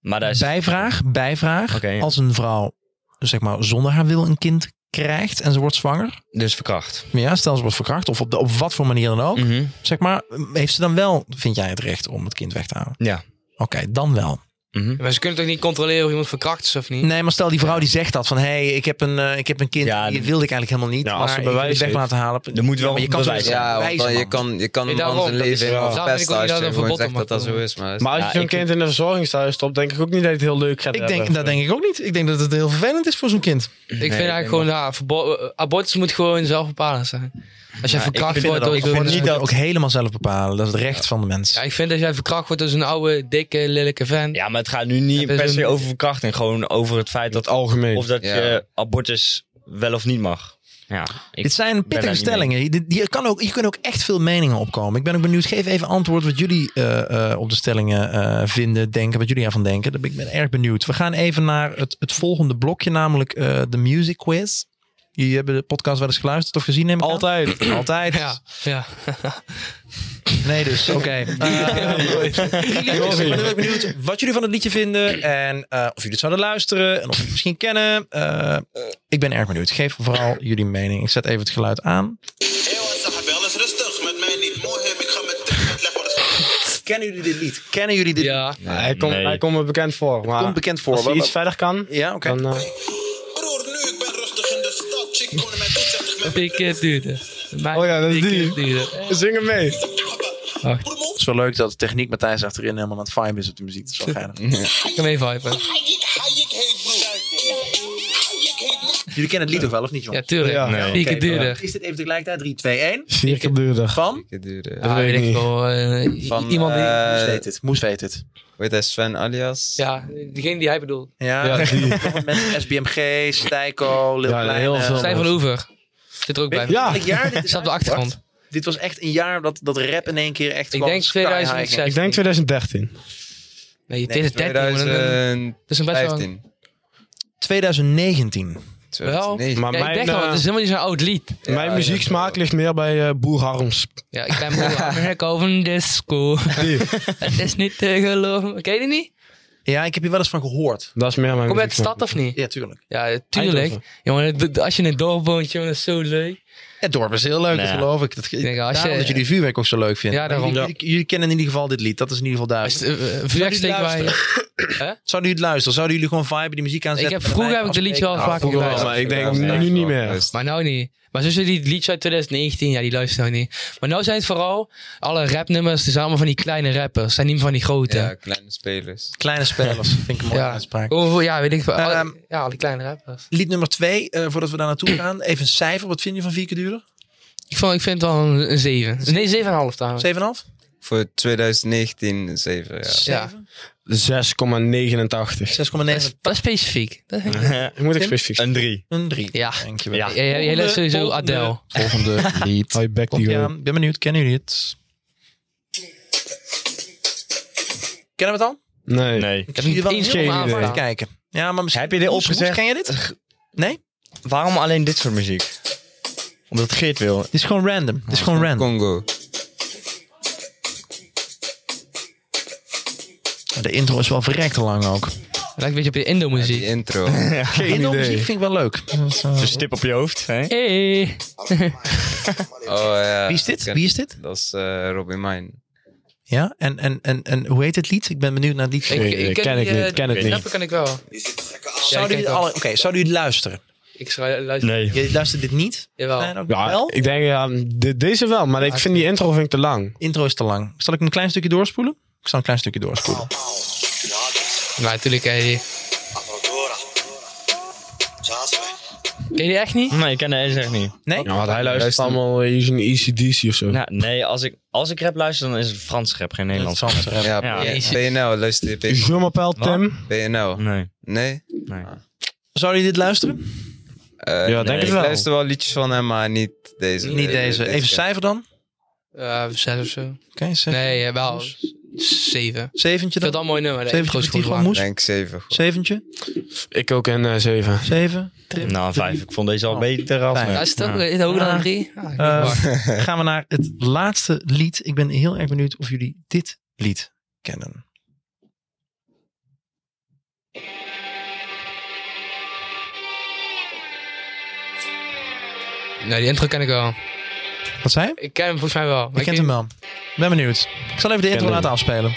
Speaker 2: Maar
Speaker 4: Eh,
Speaker 2: daar is...
Speaker 4: Bijvraag, bijvraag.
Speaker 2: Oké, ja.
Speaker 4: Als een vrouw, zeg maar, zonder haar wil een kind krijgt en ze wordt zwanger.
Speaker 2: Dus verkracht.
Speaker 4: Ja, stel ze wordt verkracht of op, de, op wat voor manier dan ook.
Speaker 2: Mhm.
Speaker 4: Zeg maar, heeft ze dan wel, vind jij het recht om het kind weg te houden?
Speaker 2: Ja.
Speaker 4: Oké, dan wel.
Speaker 2: Mhm.
Speaker 5: Maar ze kunnen toch niet controleren of iemand verkracht is of niet?
Speaker 4: Nee, maar stel die vrouw die zegt dat van hé, hey, ik, heb een, eh, ik heb een kind,
Speaker 2: Ja,
Speaker 4: die wilde ik eigenlijk helemaal niet.
Speaker 3: Ja, als
Speaker 4: maar
Speaker 3: ze
Speaker 4: ik wil
Speaker 3: bewijs
Speaker 4: het weg
Speaker 3: heeft.
Speaker 4: laten halen.
Speaker 2: Er moet wel
Speaker 4: maar je kan
Speaker 2: bewijs
Speaker 4: zo-
Speaker 2: zijn.
Speaker 6: Ja, want dan,
Speaker 4: wijzen,
Speaker 6: je,
Speaker 4: man.
Speaker 6: kan, je kan
Speaker 5: Nee,
Speaker 6: een man
Speaker 5: daarom,
Speaker 6: zijn
Speaker 5: dat is-
Speaker 6: leven
Speaker 5: ja.
Speaker 6: helemaal
Speaker 5: Daarom vind
Speaker 6: verpesten
Speaker 5: ik ook
Speaker 6: als
Speaker 5: niet dat
Speaker 6: je gewoon
Speaker 5: er verbod
Speaker 6: zegt
Speaker 5: op
Speaker 6: dat dat zo
Speaker 5: mag
Speaker 6: is. Maar
Speaker 3: Maar als je
Speaker 2: Ja,
Speaker 3: zo'n
Speaker 2: ik-
Speaker 3: kind in een verzorgingshuis stopt, denk ik ook niet dat je het heel leuk gaat
Speaker 4: Ik
Speaker 3: hebben.
Speaker 4: denk, dat denk ik ook niet. Ik denk dat het heel vervelend is voor zo'n kind.
Speaker 5: Ik
Speaker 2: Nee,
Speaker 5: vind
Speaker 2: ik
Speaker 5: eigenlijk gewoon, ja, verbo- eh, abortus moet gewoon zelfbepalend zijn. Als jij
Speaker 2: Ja, ik
Speaker 5: verkracht
Speaker 2: vind
Speaker 5: wordt
Speaker 2: dat
Speaker 5: door
Speaker 2: ook- ik vind
Speaker 5: zo'n...
Speaker 2: niet
Speaker 4: Niet
Speaker 5: eh,
Speaker 4: dat ook helemaal zelf bepalen. Dat is het recht van de mens.
Speaker 5: Ja, ik vind dat jij verkracht wordt door zo'n oude, dikke, lelijke vent.
Speaker 2: Ja, maar het gaat nu niet
Speaker 5: Ja, dat
Speaker 2: per
Speaker 5: is
Speaker 2: se
Speaker 5: een-
Speaker 2: over verkrachting. Gewoon over het feit dat...
Speaker 3: Het algemeen.
Speaker 2: Of dat
Speaker 6: Ja.
Speaker 2: je abortus wel of niet mag. Ja, ik,
Speaker 4: Dit zijn
Speaker 2: daar
Speaker 4: pittige
Speaker 2: niet
Speaker 4: stellingen. Hier- Hier, kan ook, hier kunnen ook echt veel meningen opkomen. Ik ben ook benieuwd. Geef even antwoord wat jullie eh, eh, op de stellingen eh, vinden, denken, wat jullie ervan denken. Daar ben Ik ben erg benieuwd. We gaan even naar het, het volgende blokje, namelijk eh, de music quiz. Jullie hebben de podcast wel eens geluisterd of gezien, neem ik aan?
Speaker 3: Altijd.
Speaker 4: Altijd.
Speaker 5: Ja, ja.
Speaker 4: Nee, dus oké. ik ben heel erg benieuwd wat jullie van het liedje vinden. En eh, of jullie het zouden luisteren. En of jullie het misschien kennen. Eh, ik ben erg benieuwd. Geef vooral jullie mening. Ik zet even het geluid aan.
Speaker 7: Eeuwen, sahabi, alles rustig. Met mij niet moeilijk. Ik ga met tip met leg wat het
Speaker 4: Kennen jullie dit lied? Kennen jullie dit
Speaker 5: ja.
Speaker 3: hij, komt,
Speaker 2: nee.
Speaker 3: hij komt me bekend voor. Maar
Speaker 4: komt bekend voor.
Speaker 3: Als hij
Speaker 4: Wa-
Speaker 3: iets verder kan,
Speaker 4: Ja, oké.
Speaker 3: dan... eh,
Speaker 7: Broer, nu ik ben rustig in de stad. Chick, kom naar mij toe, zegt ik met
Speaker 5: Vier keer duurder. Maar
Speaker 3: Oh ja, dat is
Speaker 5: vier
Speaker 3: die.
Speaker 5: keer duurder.
Speaker 3: zing hem mee.
Speaker 5: Oh,
Speaker 7: Broer, mom.
Speaker 4: Het is wel leuk dat de techniek Matthijs achterin helemaal aan het vibe is op de muziek. Dat is wel geinig.
Speaker 5: ik kan even hypen.
Speaker 7: Hayek, Hayek heet broer. Hayek heet niet.
Speaker 4: Jullie kennen het lied toch wel, of niet,
Speaker 5: Ja,
Speaker 4: jongen?
Speaker 5: tuurlijk.
Speaker 3: Ja.
Speaker 5: Vier keer
Speaker 4: Oké,
Speaker 5: duurder.
Speaker 4: Is dit even tegelijkertijd? 3, 2, 1.
Speaker 3: Vier keer duurder.
Speaker 4: Van?
Speaker 6: Ik duurde.
Speaker 5: Ja,
Speaker 3: weet ik
Speaker 5: weet ik
Speaker 3: niet.
Speaker 5: wel. eh, i-
Speaker 6: Van,
Speaker 5: iemand die...
Speaker 6: eh,
Speaker 4: Moes weet het. Moes weet het.
Speaker 6: Weet hij Sven alias?
Speaker 5: ja, diegene die hij bedoelt.
Speaker 4: Ja,
Speaker 3: Ja, die.
Speaker 4: mensen, SBMG, Stijko, Lil
Speaker 3: Ja,
Speaker 4: Kleine.
Speaker 3: heel veel.
Speaker 5: Stijn van Oever. Zit er ook bij.
Speaker 3: Ja,
Speaker 4: Welk jaar dit is
Speaker 5: Staat op de
Speaker 4: uitgebracht?
Speaker 5: achtergrond.
Speaker 4: Dit was echt een jaar dat, dat rap in één keer echt
Speaker 5: Ik
Speaker 4: kwam
Speaker 5: denk
Speaker 4: sky high ging.
Speaker 5: 2006.
Speaker 3: ik denk 2013.
Speaker 5: Nee, het
Speaker 6: Nee, eh,
Speaker 5: is 13. maar dan- Dat
Speaker 6: 2015.
Speaker 5: is een best wel...
Speaker 4: 2019.
Speaker 6: 2009.
Speaker 3: Maar
Speaker 5: Ja, ik
Speaker 3: mijn,
Speaker 5: denk al,
Speaker 3: eh,
Speaker 5: het is helemaal niet zo'n oud lied.
Speaker 3: mijn
Speaker 6: ja,
Speaker 3: muzieksmaak ligt meer bij eh, Boer Harms.
Speaker 5: Ja, ik ben moe aan het over disco. het is niet te geloven. Ken je die niet?
Speaker 4: Ja, ik heb hier wel eens van gehoord.
Speaker 3: Dat is meer mijn
Speaker 5: Kom je uit de
Speaker 3: muzieksmaak.
Speaker 5: stad of niet?
Speaker 4: Ja, tuurlijk.
Speaker 5: Ja, tuurlijk.
Speaker 3: Eindhoven.
Speaker 5: Jongen, d- d- als je in een dorp woont, jongen, dat is zo leuk.
Speaker 4: Het dorp is heel leuk,
Speaker 2: Nou ja.
Speaker 4: dat geloof ik. Dat, ik
Speaker 5: denk, als
Speaker 4: daarom
Speaker 5: je-
Speaker 4: dat jullie vuurwerk ook zo leuk vinden.
Speaker 5: Ja,
Speaker 4: Maar
Speaker 5: daarom.
Speaker 4: Jullie, jullie- jullie kennen in ieder geval dit lied. Dat is in ieder geval
Speaker 5: Als
Speaker 4: duidelijk.
Speaker 5: het, eh, eh, Vuurwerk steken wij.
Speaker 4: Zouden jullie het luisteren? Zouden jullie gewoon vibe die muziek aanzetten?
Speaker 5: Ik heb,
Speaker 4: en
Speaker 5: vroeger
Speaker 4: erbij
Speaker 5: heb ik de liedje
Speaker 4: afspreken?
Speaker 5: wel vaak
Speaker 3: vroeger wel,
Speaker 5: geluisterd.
Speaker 3: maar ik denk
Speaker 6: Ja,
Speaker 3: nu niet
Speaker 6: ja.
Speaker 3: meer.
Speaker 6: Dus-
Speaker 5: Maar nou niet. Maar zo die liedjes uit 2019, ja, die luisteren nou niet. Maar nou zijn het vooral alle rapnummers, het zijn allemaal van die kleine rappers. Het zijn niet meer van die grote.
Speaker 6: Ja,
Speaker 5: Ja,
Speaker 6: kleine spelers.
Speaker 4: Kleine spelers, vind ik een mooie
Speaker 5: Ja.
Speaker 4: uitspraak.
Speaker 5: oh, ja weet ik veel. Alle-
Speaker 4: Ehm,
Speaker 5: ja, al die kleine rappers.
Speaker 4: Lied nummer twee, eh, voordat we daar naartoe gaan. Even een cijfer. Wat vind je van vier keer duurder?
Speaker 5: Ik, vond, ik vind het wel een, een 7. Nee, 7,5 trouwens.
Speaker 4: 7,5?
Speaker 6: Voor 2019 7, ja.
Speaker 5: Ja.
Speaker 3: 6,89.
Speaker 5: Dat is,
Speaker 4: 6,9.
Speaker 5: dat is specifiek. Dat vind ik-
Speaker 3: Ik moet ik specifiek zijn.
Speaker 2: Een drie.
Speaker 4: Een 3.
Speaker 5: Ja.
Speaker 4: Dankjewel.
Speaker 2: Ja.
Speaker 5: Ja, jij- jij luistert sowieso
Speaker 4: Volgende,
Speaker 5: Adele.
Speaker 4: Volgende lied.
Speaker 3: Hou Oh, je bek
Speaker 4: Klopt,
Speaker 3: niet
Speaker 4: ja.
Speaker 3: hoor.
Speaker 4: Ik ben benieuwd, kennen jullie het? Kennen we het al?
Speaker 3: Nee.
Speaker 2: Nee.
Speaker 5: Ik heb
Speaker 4: Jullie
Speaker 5: niet
Speaker 4: wel
Speaker 5: eens
Speaker 4: heel
Speaker 5: helemaal
Speaker 3: idee.
Speaker 4: Even
Speaker 5: aangedaan.
Speaker 4: kijken. Ja, maar misschien...
Speaker 2: Heb je dit
Speaker 4: Moes, Moes,
Speaker 2: opgezegd?
Speaker 4: Ken je dit? Nee?
Speaker 2: Waarom alleen dit soort muziek? Omdat Geert wil.
Speaker 4: Het is gewoon random. Het is gewoon random.
Speaker 6: Congo.
Speaker 4: De intro is wel verrekt lang ook.
Speaker 5: Lijkt een beetje op je
Speaker 6: Die
Speaker 5: Indo-muziek.
Speaker 6: intro. Oh,
Speaker 4: De intro muziek vind ik wel leuk.
Speaker 2: Zo'n stip op je hoofd. Hè?
Speaker 5: Hey.
Speaker 6: Oh, ja.
Speaker 4: Wie is dit? Wie is dit?
Speaker 6: Dat is eh, Robin Mine.
Speaker 4: Ja, en, en, en, en hoe heet het lied? Ik ben benieuwd naar het lied.
Speaker 5: Ik,
Speaker 3: Nee, nee, ken ik
Speaker 5: die, eh,
Speaker 3: niet, ken het
Speaker 5: die
Speaker 3: niet.
Speaker 5: rappen ken ik wel.
Speaker 4: Zouden
Speaker 5: Ja, ik
Speaker 4: jullie
Speaker 5: ook.
Speaker 4: alle- Oké, zouden jullie luisteren? Oh.
Speaker 5: Ik schrijf, luister.
Speaker 2: Nee.
Speaker 4: Je luistert dit niet?
Speaker 5: Jawel.
Speaker 4: Nee, dan
Speaker 3: Ja,
Speaker 4: wel?
Speaker 3: ik denk ja, de- deze wel, maar ik vind die intro vind ik te lang.
Speaker 4: Intro is te lang. Zal ik een klein stukje doorspoelen? Ik zal een klein stukje doorspoelen.
Speaker 5: Maar natuurlijk ken je die. Ken je die echt niet?
Speaker 2: Nee, ik ken deze echt niet.
Speaker 4: Nee?
Speaker 3: Ja, want Ah, hij luistert allemaal eh, using ECDC of zo.
Speaker 2: Nou, nee, als ik, als ik rap luister, dan is het Frans rap, geen Nederlands.
Speaker 4: Dat is Frans rap.
Speaker 6: Ja,
Speaker 2: Ja.
Speaker 6: BNL, luister je
Speaker 3: Je
Speaker 6: BNL?
Speaker 3: Zomerpijl, Tim.
Speaker 6: BNL?
Speaker 2: Nee,
Speaker 6: Nee?
Speaker 2: nee.
Speaker 4: Zouden jullie dit luisteren?
Speaker 6: Eh,
Speaker 3: Ja, denk
Speaker 2: nee,
Speaker 3: het
Speaker 6: ik
Speaker 3: wel.
Speaker 6: luister wel liedjes van hem, maar niet deze.
Speaker 4: Niet deze. Even cijfer dan? Oké,
Speaker 5: Eh, zes of zo.
Speaker 4: zes.
Speaker 5: Nee, eh, wel zeven. Ik
Speaker 4: Zeventje
Speaker 5: vind
Speaker 4: dan?
Speaker 5: dat een mooi nummer.
Speaker 4: Zeventje
Speaker 5: Zeventje
Speaker 4: voor Tigran
Speaker 5: goed gemaakt.
Speaker 4: Moes?
Speaker 6: Ik denk zeven. goed.
Speaker 4: Zeventje?
Speaker 3: Ik ook een eh, zeven.
Speaker 4: Zeven?
Speaker 2: Nou, een vijf. Ik vond deze al beter af.
Speaker 4: Vijf.
Speaker 5: Ja, is het ook, is dat ook dan een drie? Ah, ik
Speaker 4: Eh,
Speaker 5: wacht.
Speaker 4: gaan we naar het laatste lied. Ik ben heel erg benieuwd of jullie dit lied kennen.
Speaker 5: nee, die intro ken ik wel.
Speaker 4: Wat zei je?
Speaker 5: Ik ken hem volgens mij wel.
Speaker 4: Je
Speaker 5: maar
Speaker 4: kent hem wel. Ik Ben benieuwd. Ik zal even de intro
Speaker 3: hem.
Speaker 4: laten afspelen.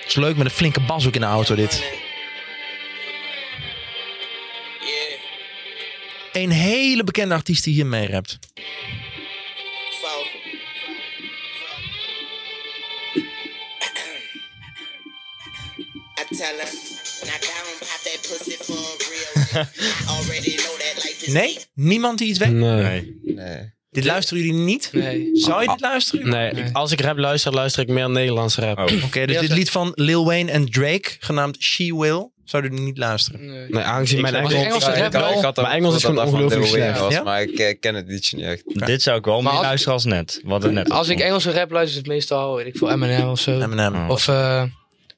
Speaker 4: Het is leuk met een flinke bas ook in de auto dit. Een hele bekende artiest die hier mee rapt.
Speaker 8: I tell her, knock down, pop that pussy for real. Already know that life is
Speaker 4: Nee? Niemand die iets weet?
Speaker 3: Nee.
Speaker 2: Nee.
Speaker 6: Nee.
Speaker 4: Dit luisteren jullie niet?
Speaker 5: Nee.
Speaker 4: Zou je dit luisteren?
Speaker 3: Ah. Nee, ik- als ik rap luister, luister ik meer Nederlands rap.
Speaker 2: Oh.
Speaker 4: Oké, dus dit lied van Lil Wayne en Drake, genaamd She Will, zouden jullie niet luisteren?
Speaker 5: Nee.
Speaker 3: Nee, aangezien mijn
Speaker 5: zou-
Speaker 3: Engels...
Speaker 5: Engels- Engelse rap wel,
Speaker 3: maar Engels is gewoon ongelooflijk slecht.
Speaker 6: Was,
Speaker 4: Ja?
Speaker 6: Maar ik eh, ken het liedje niet echt.
Speaker 2: Dit zou ik wel meer
Speaker 5: als ik-
Speaker 2: luisteren als net. Wat het net
Speaker 5: Als ik
Speaker 2: was.
Speaker 5: Engelse rap luister, is het meestal, weet ik veel, Eminem of zo.
Speaker 4: Eminem.
Speaker 2: Oh.
Speaker 5: Of, eh,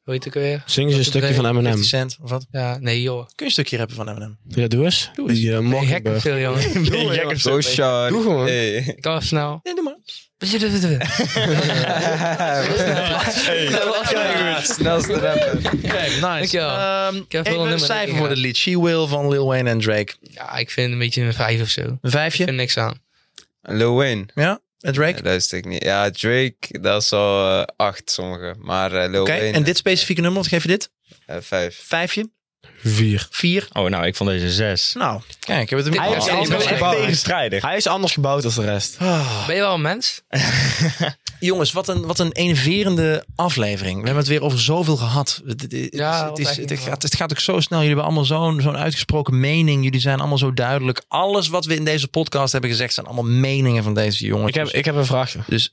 Speaker 5: hoe heet ik weer?
Speaker 3: Zing eens een stukje van Eminem.
Speaker 4: 50 cent of wat?
Speaker 5: Ja, nee joh.
Speaker 4: Kun je een stukje rappen van Eminem?
Speaker 3: Ja, doe eens. Die, eh,
Speaker 5: Nee, gek
Speaker 3: Mockingbird.
Speaker 5: veel jongen.
Speaker 6: Zo sharp.
Speaker 3: Doe gewoon.
Speaker 6: Hey.
Speaker 5: Ik kan wel snel.
Speaker 4: Nee, doe maar.
Speaker 6: Snelste rapper.
Speaker 4: Oké, nice.
Speaker 5: Dankjewel.
Speaker 4: Ehm,
Speaker 5: heb wel een
Speaker 4: even een
Speaker 5: nummer dat
Speaker 4: cijfer
Speaker 5: ik
Speaker 4: voor
Speaker 5: ga.
Speaker 4: dit lied. She Will van Lil Wayne en Drake.
Speaker 5: Ja, ik vind een beetje een vijf of zo. Ik
Speaker 4: Een
Speaker 5: vind
Speaker 4: vijfje?
Speaker 5: niks aan.
Speaker 6: Lil Wayne.
Speaker 4: Ja? En Drake?
Speaker 6: Ja, luister ik niet. Ja, Drake, dat is al eh, acht sommigen. Maar eh, Lil
Speaker 4: Oké,
Speaker 6: Wayne,
Speaker 4: en dit specifieke nummer, wat geef je dit?
Speaker 6: eh, vijf.
Speaker 4: Vijfje?
Speaker 3: Vier.
Speaker 4: Vier?
Speaker 2: Oh, nou, ik vond deze zes.
Speaker 4: Nou, kijk, we hebben het
Speaker 6: Ah,
Speaker 5: Hij
Speaker 4: een
Speaker 5: is
Speaker 2: Ah,
Speaker 4: beetje-
Speaker 5: anders
Speaker 4: Oh,
Speaker 5: dan
Speaker 4: echt
Speaker 5: ik.
Speaker 4: tegen-
Speaker 2: tegenstrijdig.
Speaker 3: Hij is anders gebouwd dan de rest.
Speaker 5: Ben je wel een mens?
Speaker 4: Ah, Jongens, wat een, wat een enerverende aflevering. We hebben het weer over zoveel gehad. Het, het- het-
Speaker 5: Ja,
Speaker 4: het,
Speaker 5: wat
Speaker 4: is,
Speaker 5: eigenlijk
Speaker 4: het,
Speaker 5: wel.
Speaker 4: gaat, het gaat ook zo snel. Jullie hebben allemaal zo'n zo'n uitgesproken mening. Jullie zijn allemaal zo duidelijk. Alles wat we in deze podcast hebben gezegd zijn allemaal meningen van deze jongens.
Speaker 3: Ik heb, ik heb een vraagje.
Speaker 4: Dus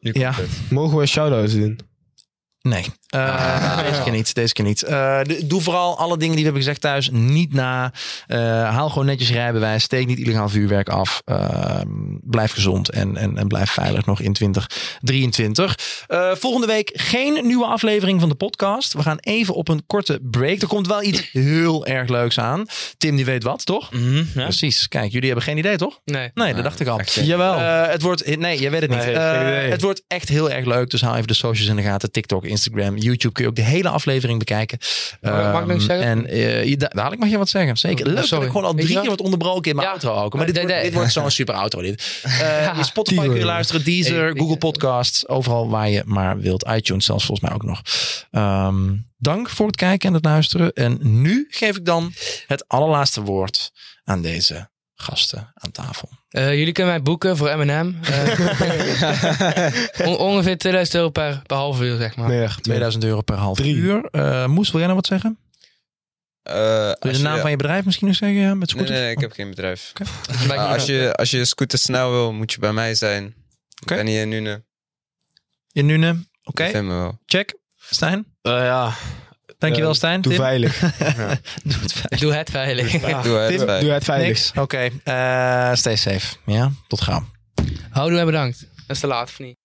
Speaker 4: ja,
Speaker 3: Mogen we shout-outs doen?
Speaker 4: nee. Eh, Deze keer niet. Deze keer niet. Eh, de- doe vooral alle dingen die we hebben gezegd thuis niet na. Eh, haal gewoon netjes je rijbewijs. Steek niet illegaal vuurwerk af. Eh, blijf gezond en, en, en blijf veilig nog in 2023. Eh, volgende week geen nieuwe aflevering van de podcast. We gaan even op een korte break. Er komt wel iets heel erg leuks aan. Tim, die weet wat, toch?
Speaker 2: Mhm, ja.
Speaker 4: Precies. Kijk, jullie hebben geen idee, toch?
Speaker 5: Nee.
Speaker 4: Nee, dat dacht ik al.
Speaker 6: echt niet.
Speaker 4: Jawel. het wordt, nee, jij weet het niet.
Speaker 3: Nee, geen
Speaker 4: Eh,
Speaker 3: idee.
Speaker 4: het wordt echt heel erg leuk. Dus hou even de socials in de gaten. TikTok, Instagram, YouTube. Kun je ook de hele aflevering bekijken.
Speaker 5: Oh, Mag- mag ik nog iets
Speaker 4: Ehm,
Speaker 5: zeggen? Oh,
Speaker 4: En eh, je- da- dadelijk mag je wat zeggen. Zeker. Leuk dat
Speaker 5: sorry.
Speaker 4: ik gewoon al
Speaker 5: Weet je
Speaker 4: drie
Speaker 5: wel?
Speaker 4: keer wat onderbroken in mijn
Speaker 5: Ja.
Speaker 4: auto ook. Maar dit,
Speaker 5: Nee,
Speaker 4: wordt-
Speaker 5: nee.
Speaker 4: dit wordt zo'n super auto dit. Eh, in Spotify
Speaker 3: Tiener.
Speaker 4: kun je luisteren.
Speaker 5: Hey,
Speaker 4: Deezer,
Speaker 5: ik-
Speaker 4: Google Podcasts. Overal waar je maar wilt. iTunes zelfs volgens mij ook nog. Ehm, dank voor het kijken en het luisteren. En nu geef ik dan het allerlaatste woord aan deze gasten aan tafel.
Speaker 5: Eh, jullie kunnen mij boeken voor Eminem. Eh, on- ongeveer 2000 euro per, per half uur, zeg maar.
Speaker 3: Meer.
Speaker 4: 2000 euro per half
Speaker 3: Drie.
Speaker 4: uur. Eh, Moes, wil jij nou wat zeggen?
Speaker 6: Eh,
Speaker 4: Wil
Speaker 6: als
Speaker 4: je de naam
Speaker 6: je-
Speaker 4: van je bedrijf misschien nog zeggen? Ja, met
Speaker 6: Nee,
Speaker 4: scooters?
Speaker 6: nee, ik heb geen bedrijf.
Speaker 5: Dan ben ik
Speaker 6: Maar
Speaker 5: nog-
Speaker 6: Ah, als, je, als je scooter snel wil, moet je bij mij zijn.
Speaker 4: Oké.
Speaker 6: Ik ben hier in Nune.
Speaker 4: In Nune. Oké,
Speaker 6: Ik vind me wel.
Speaker 4: check. Stijn.
Speaker 3: Eh, ja,
Speaker 4: Dankjewel,
Speaker 3: Eh,
Speaker 4: Stijn.
Speaker 3: doe
Speaker 4: Tim?
Speaker 3: veilig.
Speaker 4: Doe het veilig.
Speaker 5: Doe het veilig.
Speaker 6: Doe het.
Speaker 4: Ah, Tim,
Speaker 6: bij.
Speaker 3: Doe het veilig.
Speaker 4: Niks. Oké, eh, stay safe. Ja, tot gauw.
Speaker 5: Houdoe en bedankt. Dat is te laat, of niet?